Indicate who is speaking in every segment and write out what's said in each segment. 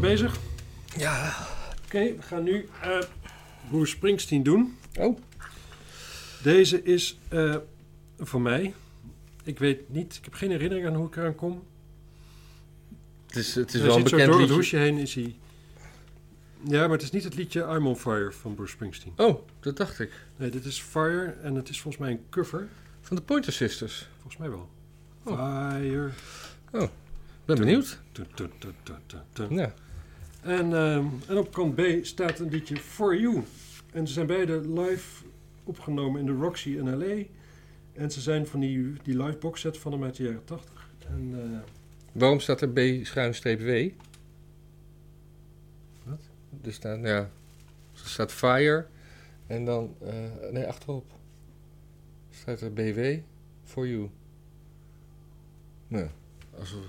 Speaker 1: bezig?
Speaker 2: Ja.
Speaker 1: Oké, we gaan nu eh Bruce Springsteen doen.
Speaker 2: Oh.
Speaker 1: Deze is eh, voor mij. Ik weet niet, ik heb geen herinnering aan hoe ik eraan kom.
Speaker 2: Het is, het is
Speaker 1: Hij
Speaker 2: wel een
Speaker 1: zit zo
Speaker 2: bekend
Speaker 1: door het
Speaker 2: liedje.
Speaker 1: hoesje heen is hij... Ja, maar het is niet het liedje I'm on Fire van Bruce Springsteen.
Speaker 2: Oh, dat dacht ik.
Speaker 1: Nee, dit is Fire en het is volgens mij een cover.
Speaker 2: Van de Pointer Sisters.
Speaker 1: Volgens mij wel.
Speaker 2: Oh.
Speaker 1: Fire.
Speaker 2: Ben benieuwd.
Speaker 1: Tun, tun, tun, tun, tun, tun.
Speaker 2: Ja.
Speaker 1: En, ehm, en op kant B staat een liedje For You. En ze zijn beide live opgenomen in de Roxy in L.A. En ze zijn van die, die live box set van hem uit de jaren 80. En, eh,
Speaker 2: Waarom staat er B-W?
Speaker 1: Wat?
Speaker 2: Er staat, nou ja, er staat Fire en dan, eh, nee, achterop staat er BW for you. Nee, alsof...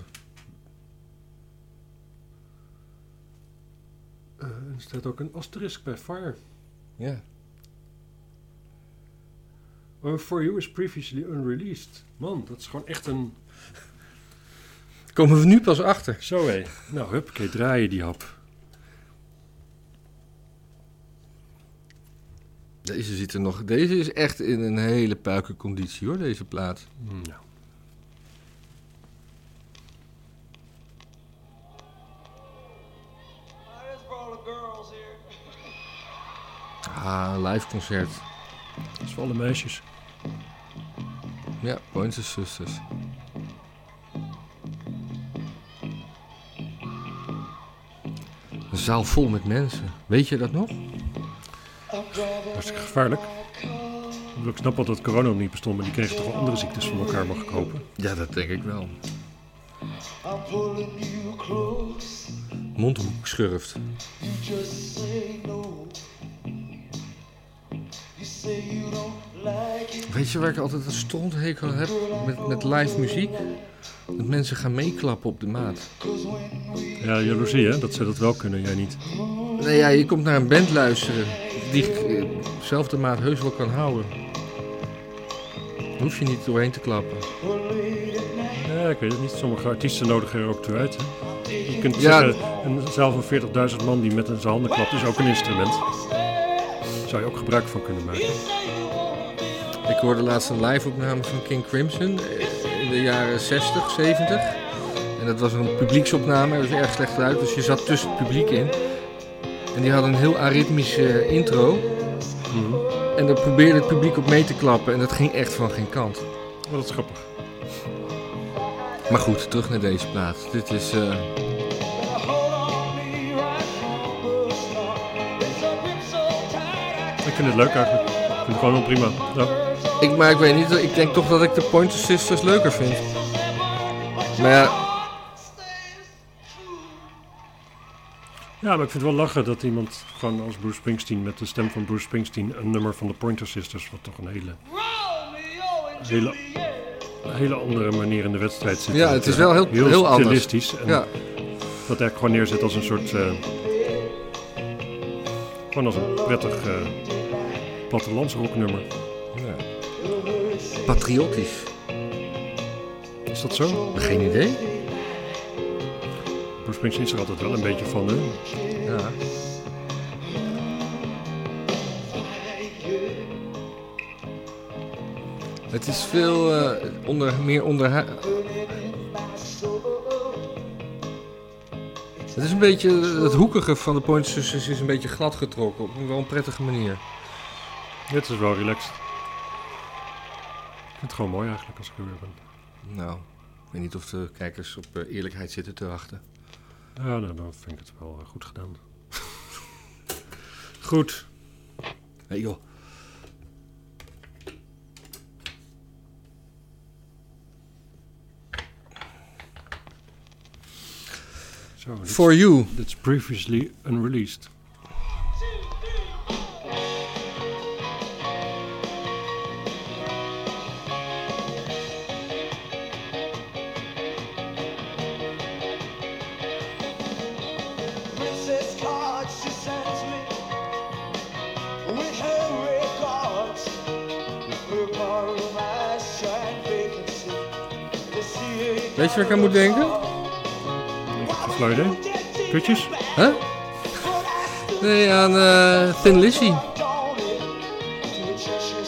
Speaker 1: eh, er staat ook een asterisk bij Fire.
Speaker 2: Ja,
Speaker 1: Oh, For You is previously unreleased. Man, dat is gewoon echt een...
Speaker 2: komen we nu pas achter.
Speaker 1: Zo hé. Nou, huppakee, draai je die hap.
Speaker 2: Deze ziet er nog, deze is echt in een hele puikenconditie hoor, deze plaat.
Speaker 1: Nou.
Speaker 3: That's for all the girls here.
Speaker 2: Ah, een live concert.
Speaker 1: Dat is voor alle meisjes.
Speaker 2: Ja, Pointer Sisters. Een zaal vol met mensen. Weet je dat nog?
Speaker 1: Hartstikke gevaarlijk. Ik bedoel, Ik snap wel dat corona nog niet bestond, maar die kregen toch wel andere ziektes van elkaar mag kopen.
Speaker 2: Ja, dat denk ik wel.
Speaker 3: I'm pulling you close.
Speaker 2: Mondhoek schurft.
Speaker 3: You just say no. You say you don't like it.
Speaker 2: Weet je waar ik altijd een stondhekel heb met, met live muziek? Dat mensen gaan meeklappen op de maat.
Speaker 3: Cause when we
Speaker 1: Ja, jaloezie hè, dat ze dat wel kunnen, jij niet.
Speaker 2: Nee, ja, je komt naar een band luisteren die eh, zelf de maat heus wel kan houden. Daar hoef je niet doorheen te klappen.
Speaker 3: were late at night,
Speaker 1: Ja, ik weet het niet. Sommige artiesten nodigen er ook toe uit. Hè? Je kunt
Speaker 2: Ja.
Speaker 1: zeggen, een zaal van 40.000 man die met zijn handen klapt is ook een instrument. Daar zou je ook gebruik van kunnen maken.
Speaker 2: Ik hoorde laatst een live-opname van King Crimson eh, in de jaren 60, 70. En dat was een publieksopname, dat was erg slecht uit, dus je zat tussen het publiek in. En die hadden een heel aritmische eh, intro. Mhm. En daar probeerde het publiek op mee te klappen en dat ging echt van geen kant.
Speaker 1: Maar dat is grappig.
Speaker 2: Maar goed, terug naar deze plaat. Dit is eh,
Speaker 3: I hold on me right from the start. It's a grip so tight I
Speaker 1: Ik vind het leuk eigenlijk. Ik vind het gewoon wel prima. Ja.
Speaker 2: Ik, maar ik weet niet, ik denk toch dat ik de Pointer Sisters leuker vind. Maar ja,
Speaker 1: ja, maar ik vind het wel lachen dat iemand gewoon als Bruce Springsteen met de stem van Bruce Springsteen een nummer van de Pointer Sisters, wat toch een hele,
Speaker 3: Romeo and
Speaker 1: Hele-
Speaker 3: Juliet.
Speaker 1: een hele andere manier in de wedstrijd zit.
Speaker 2: ja
Speaker 1: Dat,
Speaker 2: het is
Speaker 1: eh,
Speaker 2: wel heel,
Speaker 1: heel,
Speaker 2: heel anders.
Speaker 1: stilistisch. En
Speaker 2: Ja,
Speaker 1: Dat eigenlijk gewoon neerzet als een soort. eh, gewoon als een prettig eh plattelandsrocknummer.
Speaker 2: patriotisch.
Speaker 1: Is dat zo?
Speaker 2: Geen idee.
Speaker 1: Bruce Springsteen is er altijd wel een beetje van. Hè?
Speaker 2: Ja. Het is veel eh, onder, meer onder. Het is een beetje. Het hoekige van de Point Sisters is een beetje glad getrokken. Op een wel een prettige manier.
Speaker 1: Dit is wel relaxed. Ik vind het gewoon mooi eigenlijk als ik er weer ben.
Speaker 2: Nou, ik weet niet of de kijkers op eh, eerlijkheid zitten te wachten.
Speaker 1: Ja, nou, dan vind ik het wel eh, goed gedaan. goed.
Speaker 2: Nee joh.
Speaker 1: Zo, dit,
Speaker 2: For you.
Speaker 1: dit is previously unreleased.
Speaker 3: Princess cards she sends me with her regards. Her bar room eyes shine vacancy. They see it
Speaker 2: Weet je waar ik aan moet denken?
Speaker 1: Een flauw idee. Kun toetjes?
Speaker 2: Huh? Nee, aan eh, Thin Lizzy.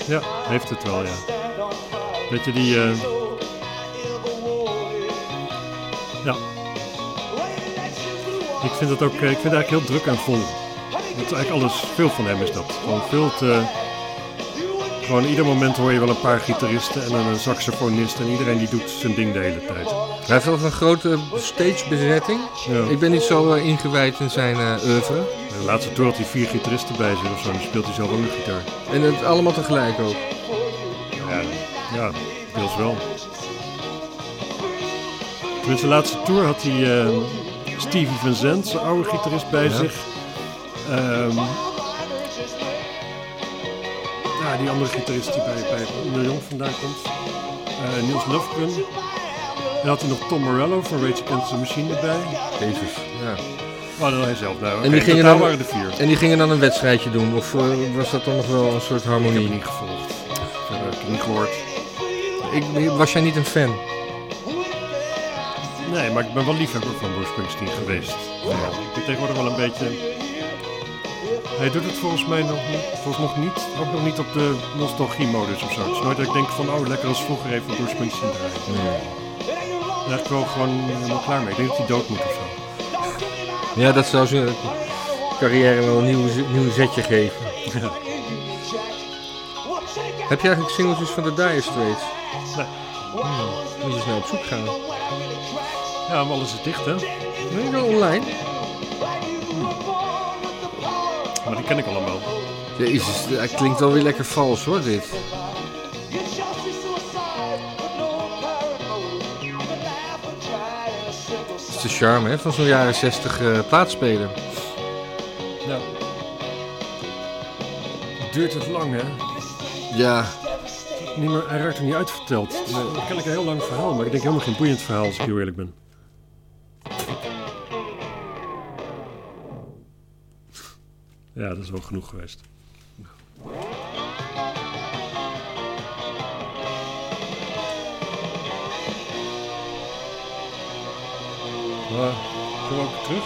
Speaker 1: Ja, heeft het wel, ja. Weet je die... eh, ja, ik vind het ook eh, ik vind het eigenlijk heel druk en vol. Dat is eigenlijk alles, veel van hem is dat. Gewoon veel te... Gewoon ieder moment hoor je wel een paar gitaristen en dan een saxofonist en iedereen die doet zijn ding de hele tijd.
Speaker 2: Hij heeft wel een grote stagebezetting.
Speaker 1: Ja.
Speaker 2: Ik ben niet zo eh, ingewijd in zijn eh oeuvre.
Speaker 1: De laatste tour had hij vier gitaristen bij zich of zo, en dan speelt hij zelf ook een gitaar.
Speaker 2: En het allemaal tegelijk ook.
Speaker 1: Ja, ja deels wel. Tenminste, de laatste tour had hij eh, Stevie Van Zandt, zijn oude gitarist, bij
Speaker 2: Ja.
Speaker 1: zich. Ehm, ja, die andere gitarist die bij, bij Neil Young vandaan komt. Eh, Niels Lofgren. En had hij nog Tom Morello van Rage Against the Machine erbij.
Speaker 2: Jezus, ja.
Speaker 1: Maar dan Oh, hij zelf. Nou,
Speaker 2: En die gingen
Speaker 1: daar
Speaker 2: dan-
Speaker 1: waren de vier.
Speaker 2: En die gingen dan een wedstrijdje doen? Of eh, was dat dan nog wel een soort
Speaker 1: Ik heb
Speaker 2: harmonie?
Speaker 1: niet gevolgd. Verder heb ik het niet gehoord.
Speaker 2: Ik, was jij niet een fan?
Speaker 1: Nee, maar ik ben wel liefhebber van Bruce Springsteen geweest. Ja. Ik ben tegenwoordig wel een beetje... Hij doet het volgens mij nog niet, volgens nog niet. Ook nog niet op de nostalgie-modus of zo. Het is nooit dat ik denk van, oh, lekker als vroeger even Bruce Springsteen draaien. Daar ben ik wel gewoon eh, helemaal klaar mee. Ik denk dat hij dood moet of zo.
Speaker 2: Ja, dat zou zijn carrière wel een nieuw, nieuw zetje geven. Heb je eigenlijk singeltjes van de Dire Straits?
Speaker 1: Nee.
Speaker 2: Moet je snel op zoek gaan.
Speaker 1: Ja, maar alles is dicht, hè?
Speaker 2: Ben je wel online?
Speaker 1: Maar die ken ik allemaal.
Speaker 2: Jezus, dat klinkt wel weer lekker vals hoor dit. Dat is de charme hè, van zo'n jaren 60 eh plaatsspeler.
Speaker 1: Ja. Het duurt het lang, hè?
Speaker 2: Ja,
Speaker 1: Niet meer, hij raakt er niet uitverteld. Nee, dan ken ik een heel lang verhaal, maar ik denk helemaal geen boeiend verhaal als ik heel eerlijk ben. Ja, dat is wel genoeg geweest. Maar, kunnen we ook terug?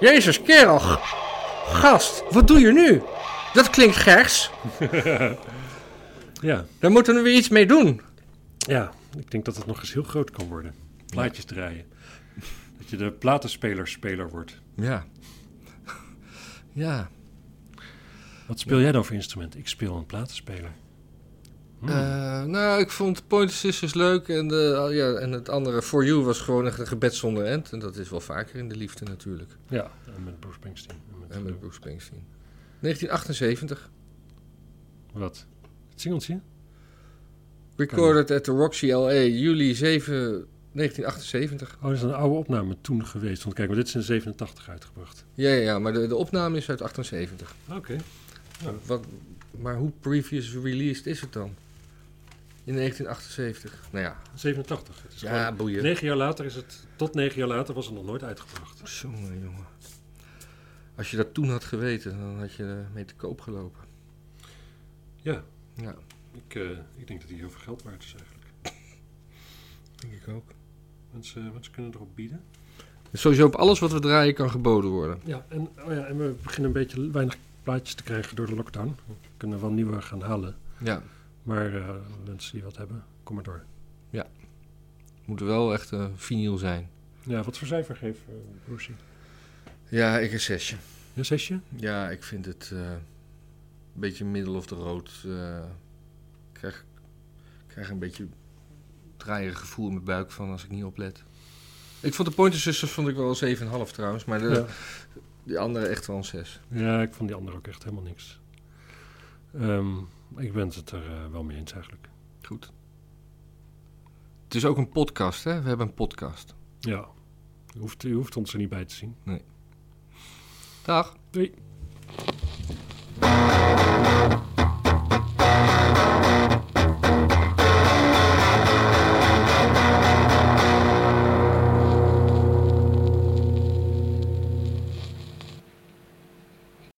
Speaker 2: Jezus, kerel. g- Gast, wat doe je nu? Dat klinkt gers.
Speaker 1: Ja.
Speaker 2: Daar moeten we weer iets mee doen.
Speaker 1: Ja, ik denk dat het nog eens heel groot kan worden. Plaatjes draaien. Dat je de platenspeler-speler wordt.
Speaker 2: Ja. Ja.
Speaker 1: Wat speel jij dan voor instrument? Ik speel een platenspeler. Hmm.
Speaker 2: Eh, nou, ik vond Pointer Sisters leuk. En, de, ja, en het andere, For You, was gewoon echt een gebed zonder end. En dat is wel vaker in de liefde natuurlijk.
Speaker 1: Ja. En met Bruce Springsteen. En met-
Speaker 2: En met Bruce Springsteen. 1978.
Speaker 1: eh, Wat? Het singeltje?
Speaker 2: Recorded at the Roxy LA, juli 7, 1978.
Speaker 1: Oh, dat is een oude opname toen geweest. Want kijk, maar dit is in 87 uitgebracht.
Speaker 2: Ja, ja, ja maar de, de opname is uit 78.
Speaker 1: Oké.
Speaker 2: Wat, maar hoe previous released is het dan? In 1978. Nou ja,
Speaker 1: 87. Het is
Speaker 2: ja
Speaker 1: gewoon-
Speaker 2: boeien.
Speaker 1: Negen jaar later is het... Tot negen jaar later was het nog nooit uitgebracht.
Speaker 2: Jongen, jongen. Als je dat toen had geweten, dan had je eh, mee te koop gelopen.
Speaker 1: Ja.
Speaker 2: Ja,
Speaker 1: Ik, eh, ik denk dat die heel veel geld waard is eigenlijk.
Speaker 2: denk ik ook.
Speaker 1: Mensen, eh, mensen kunnen erop bieden.
Speaker 2: Dus Sowieso op alles wat we draaien kan geboden worden.
Speaker 1: Ja en, oh ja, en we beginnen een beetje weinig plaatjes te krijgen door de lockdown. We kunnen wel nieuwe gaan halen.
Speaker 2: Ja,
Speaker 1: Maar eh, mensen die wat hebben, kom maar door.
Speaker 2: moet er wel echt eh vinyl zijn.
Speaker 1: Ja, wat voor cijfer geeft eh Brucey?
Speaker 2: Ja, ik een zesje.
Speaker 1: Een zesje?
Speaker 2: Ja, ik vind het eh, een beetje middel of de rood. eh, ik krijg, ik krijg een beetje draaierig gevoel in mijn buik van als ik niet oplet. Ik vond de Pointer Sisters vond ik wel een 7,5 trouwens, maar de,
Speaker 1: Ja.
Speaker 2: die andere echt wel een 6.
Speaker 1: Ja, ik vond die andere ook echt helemaal niks. Ehm, ik ben het er eh, wel mee eens eigenlijk.
Speaker 2: Goed. Het is ook een podcast, hè? We hebben een podcast.
Speaker 1: Ja, u hoeft, u hoeft ons er niet bij te zien.
Speaker 2: Dag.
Speaker 1: Doei.